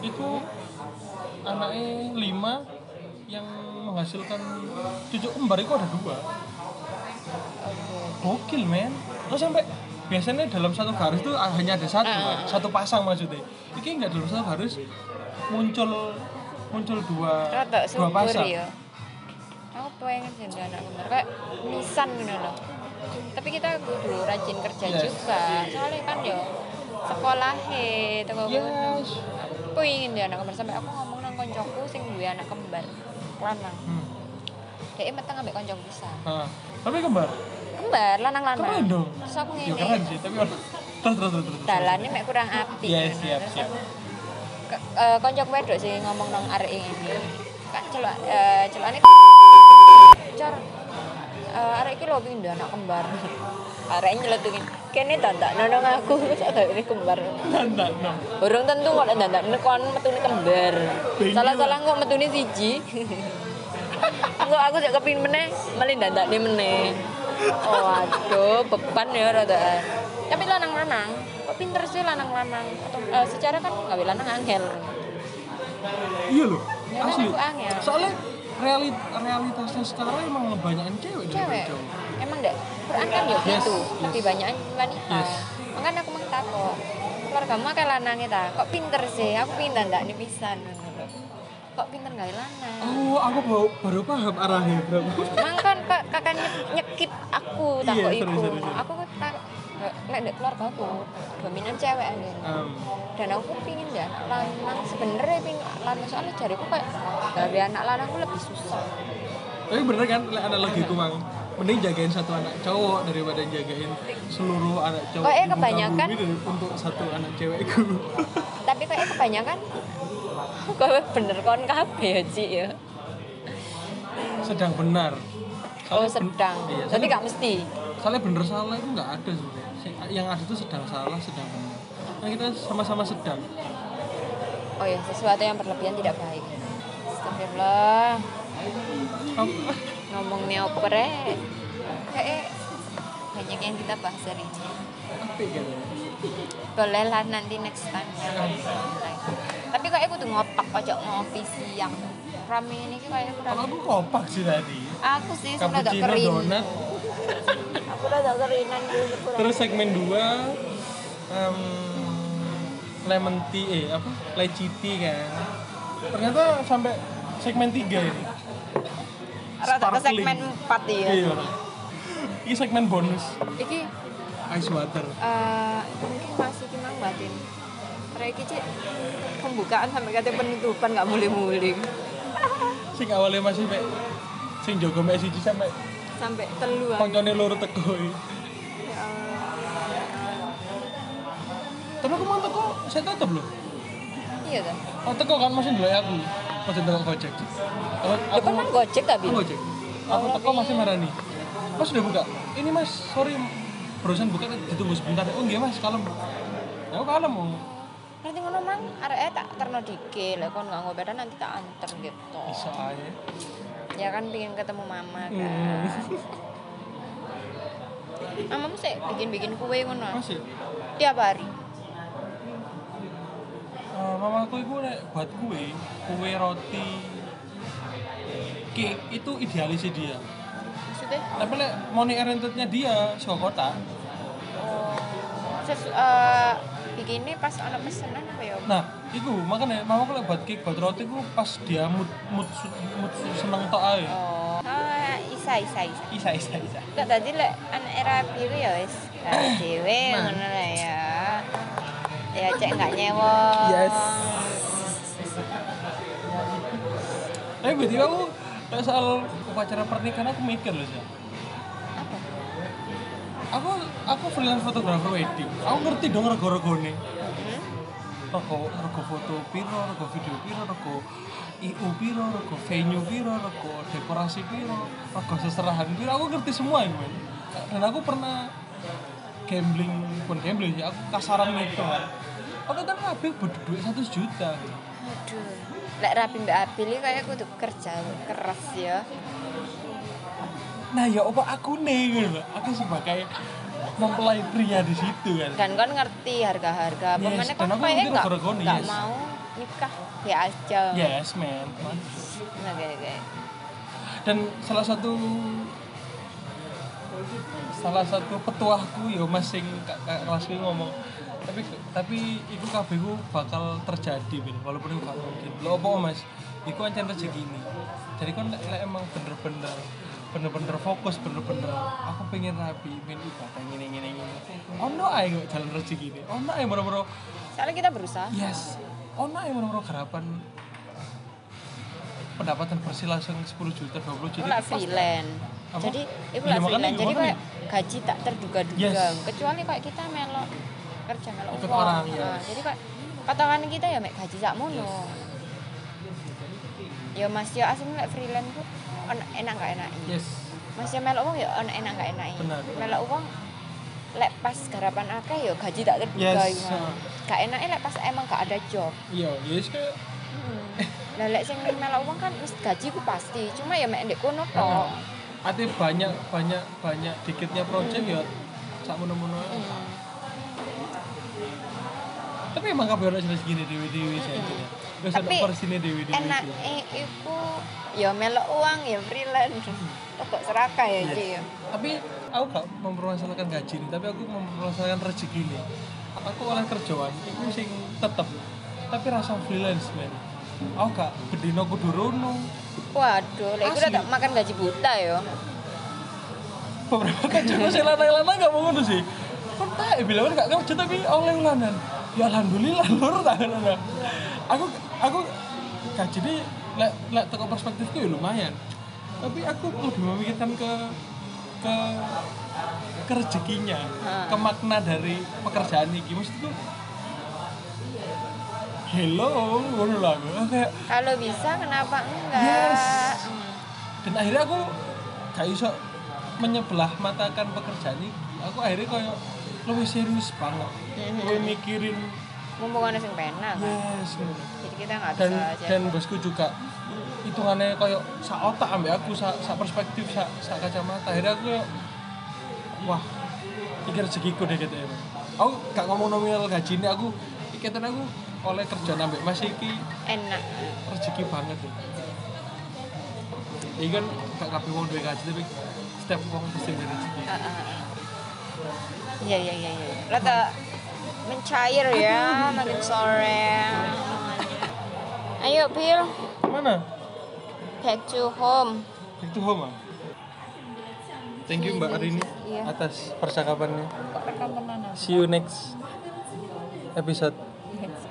itu anaknya lima yang menghasilkan cucu kembar itu ada dua.
Oke.
Gokil men. Terus sampai biasanya dalam satu garis tuh hanya ada satu,
Ah.
kan? satu pasang maksudnya. Iki nggak dalam satu garis muncul muncul dua dua
Rata subur iya.
pasang.
ya. Aku pengen jadi anak kembar kayak nisan ngono loh. tapi kita kudu rajin kerja
Yes.
juga soalnya kan yo sekolah he teko
Yes.
aku ingin dia anak kembar sampai aku ngomong nang koncoku sing duwe anak kembar lanang
Hmm.
dia meteng ambek koncoku bisa
Ah. Tapi kembar.
kembar lanang lanang
Keren dong.
terus aku
Ya keren
ngene
sih, tapi orang terus terus terus. terus.
dalannya mek kurang api
Iya, siap, siap.
Ke- eh, koncoku wedok sih ngomong nang arek ini kan celok eh, celokane car eh, arek iki lho pindah anak kembar arek nyeletukin kene tandak nonong aku sak gawe kembar
Enggak, no.
Burung tentu kok ndak ndak kon metune kembar.
Bingung.
Salah-salah kok metune siji. Enggak aku jak kepin meneh, meli ndandakne meneh. Oh, aduh, beban ya rodaan. Tapi lanang-lanang, kok pinter sih lanang-lanang. Atau, eh, secara kan gawe lanang angel.
Iya loh.
Ya,
Asli.
aku angel.
Soalnya realit- realitasnya sekarang emang kebanyakan cewek
Cewek.
daripada cowok.
Emang dek, Quran kan yo
Yes,
gitu,
yes.
lebih banyakan wanita.
Yes.
Makanya aku mengtak kok. Keluargamu akeh lanange ta? Kok pinter sih? Aku pinter ndakne pisan ngono lho. Kok pinter gawe lanang?
Oh, aku baru, baru paham arahnya, bro.
Emang kan kak, kakak nyek- nyekip aku tak
Iya,
kok
sorry,
iku.
sorry, sorry.
Aku kan tak nek ndek keluarga aku dominan cewek angin.
Em,
Dan aku pingin ya anak lanang sebenarnya pingin anak lanang soalnya jariku kayak dari anak lanang aku lebih susah.
tapi bener kan, lek anak lagi kumang. Mending jagain satu anak cowok daripada jagain seluruh anak cowok
Kok eh
di muka
kebanyakan?
bumi dari- untuk satu anak cewekku.
Tapi kayak kebanyakan kowe bener kon kabeh ya, Ci ya.
Sedang benar.
Oh,
Soalnya ben-
sedang.
Iya,
Tapi
soalnya-
gak mesti.
soalnya bener salah itu nggak ada sebenarnya Si- yang ada itu sedang salah sedang benar nah kita sama-sama sedang
Oh ya, sesuatu yang berlebihan tidak baik. Astagfirullah.
Apa?
Ngomongnya apa rek? Kayak banyak yang kita bahas hari ini.
Apik gitu
boleh lah nanti next time ya tapi kayak kudu ngopak aja ngopi siang rame ini ki kayak
kalau
kurang
aku kopak sih tadi
aku sih sudah agak
cappuccino
kering
donat
aku udah agak keringan dulu kurang
terus segmen 2 lemon tea eh apa leci tea kan ternyata sampai segmen 3 ini
rata ke
sparkling.
segmen 4 ya
iya ini segmen bonus
iki
ice water
eh, mungkin masih kimang batin Reki cek pembukaan sampai kata penutupan nggak mulai-mulai
sing awalnya masih mek sing jago mek siji sampe
sampai teluan
koncone loro teko iki.
ya Allah.
tapi aku mau teko saya tetep loh
iya kan
Oh, teko kan masih dulu aku. Masih teko Gojek. Aku aku
depan kan gojek tapi
aku Gojek. Aku teko masih marani. Mas sudah buka. Ini Mas, sorry barusan buka ditunggu sebentar. Oh iya Mas, kalem. Ya aku kalem. oh.
nanti ngono mang arek tak terno dikil lah kon nggak ngobrol nanti tak anter gitu
Bisa aja.
ya kan pengen ketemu mama kan
Hmm.
mamamu sih bikin-bikin kue ngono
Mas ya.
tiap hari
eh, mamaku itu nek buat kue, kue roti, cake itu idealisnya dia.
maksudnya
Tapi lek money orientednya dia, soko kota.
oh, sesu, eh, bikinnya pas ada pesanan apa ya
Nah, itu makanya mamaku lek buat cake, buat roti ku pas dia mood mood, mood seneng tok ae.
oh ah, isa isa isa
Isa isa isa.
Lah, tadi lek anak era biru ya wis Lah, dewe ngono lah ya ya cek nggak nyewa
Yes. Tapi berarti Eh, aku lek soal upacara pernikahan aku mikir loh sih.
apa
Aku aku freelance fotografer wedding. Aku ngerti dong rego-regone.
hmm?
Rego rego foto piro, rego video piro, rego IU piro, rego venue piro, rego dekorasi piro, rego seserahan piro. Aku ngerti semua ini, men. Dan aku pernah gambling, bukan gambling ya, aku kasaran gitu. Aku kan habis butuh duit 1 juta.
aduh lek rapi mbak Abil ini kayak kudu kerja keras ya
Nah ya apa aku nih gitu loh. Aku sebagai mempelai pria di situ kan.
dan kan ngerti harga-harga
Yes,
pokoknya kan
dan aku
kayaknya
ngerti
nggak
rego-regone,
nggak
yes.
mau nikah ya aja
Yes man.
nah kayak kayak
Dan salah satu salah satu petuahku ya mas sing kakak kelasku ngomong tapi tapi itu kabeh ku bakal terjadi Bil, walaupun itu gak mungkin lo apa mas itu ancam rezeki ini jadi kan lek- lek emang bener-bener bener-bener fokus bener-bener aku pengen rapi pengen ibadah ngene ngene ngene ono ae kok jalan rezeki ini ono ae moro-moro
soalnya kita berusaha
yes ono ae moro-moro garapan pendapatan bersih langsung 10 juta 20
aku
juta
lah
itu pasti.
freelance
Apa?
jadi aku
Iya,
lah
makanya,
freelance jadi
makanya.
kayak gaji tak terduga-duga
Yes.
kecuali kayak kita melok kerja melok
Ikut
uang.
orang,
Nah,
yes.
jadi kayak patokan kita ya mek gaji sak mono ya mas yo aslinya mek freelance ku on enak gak enak
yes
mas yo melok uang ya on enak gak enak
Benar.
melok uang lek pas garapan akeh ya gaji tak terduga
Yes.
iku, Mas. gak enaknya lek pas emang gak ada job
iya yes kayak
Hmm. Lah lek sing melok wong kan wis gaji ku pasti, cuma ya mek ndek kono tok.
Heeh. ate banyak banyak banyak dikitnya project ya sak mono-mono ae.
Hmm.
tapi emang kabeh ono jenis gini dewi-dewi saya itu ya terus ono
Iya. Tapi
persine dewi-dewi
Enak
sih.
e iku ya melok uang ya freelance. Kok serakah ya
Yes.
Ci ya.
tapi aku gak mempermasalahkan gaji ini tapi aku mempermasalahkan rezeki ini aku oleh kerjaan itu sing tetep tapi rasa freelance men aku gak bedino kudu rono
Waduh, lek iku
Asli.
udah makan gaji buta ya.
beberapa kerja sing lanang-lanang gak mau ngono sih kan tak bilang gak kerja tapi oleh ulanan ya alhamdulillah lur tak ngono. aku aku gaji ini lek lek teko perspektifku ya lumayan tapi aku lebih memikirkan ke ke ke rezekinya
Ha.
ke makna dari pekerjaan ini maksudku hello ngono lah aku. Aku kayak
Kalau bisa kenapa enggak?
Yes.
Hmm.
dan akhirnya aku gak iso menyebelah matakan pekerjaan ini aku akhirnya kayak lebih serius banget
Mhm.
gue mikirin
Mumpung ana sing penak kan.
yes ngono.
Jadi kita nggak
dan
bisa
dan bosku juga hitungannya kayak sak otak ambek aku sak, sak perspektif sak, sak kacamata akhirnya aku kayak wah pikir rezekiku deh gitu ya aku gak ngomong nominal gaji ini aku ikatan aku oleh kerja ambek mas iki
enak.
rezeki banget ya. Ini kan gak kabeh wong duwe gaji tapi setiap wong pasti duwe rezeki.
Ah, ah, ah. Iya iya iya iya. Rata mencair ya makin sore. Ayo Bill,
Mana?
back to home.
Itu Homa. Thank you Mbak Arini
Iya.
atas percakapannya.
Kok rekam kemana?
See you next episode.
Yes.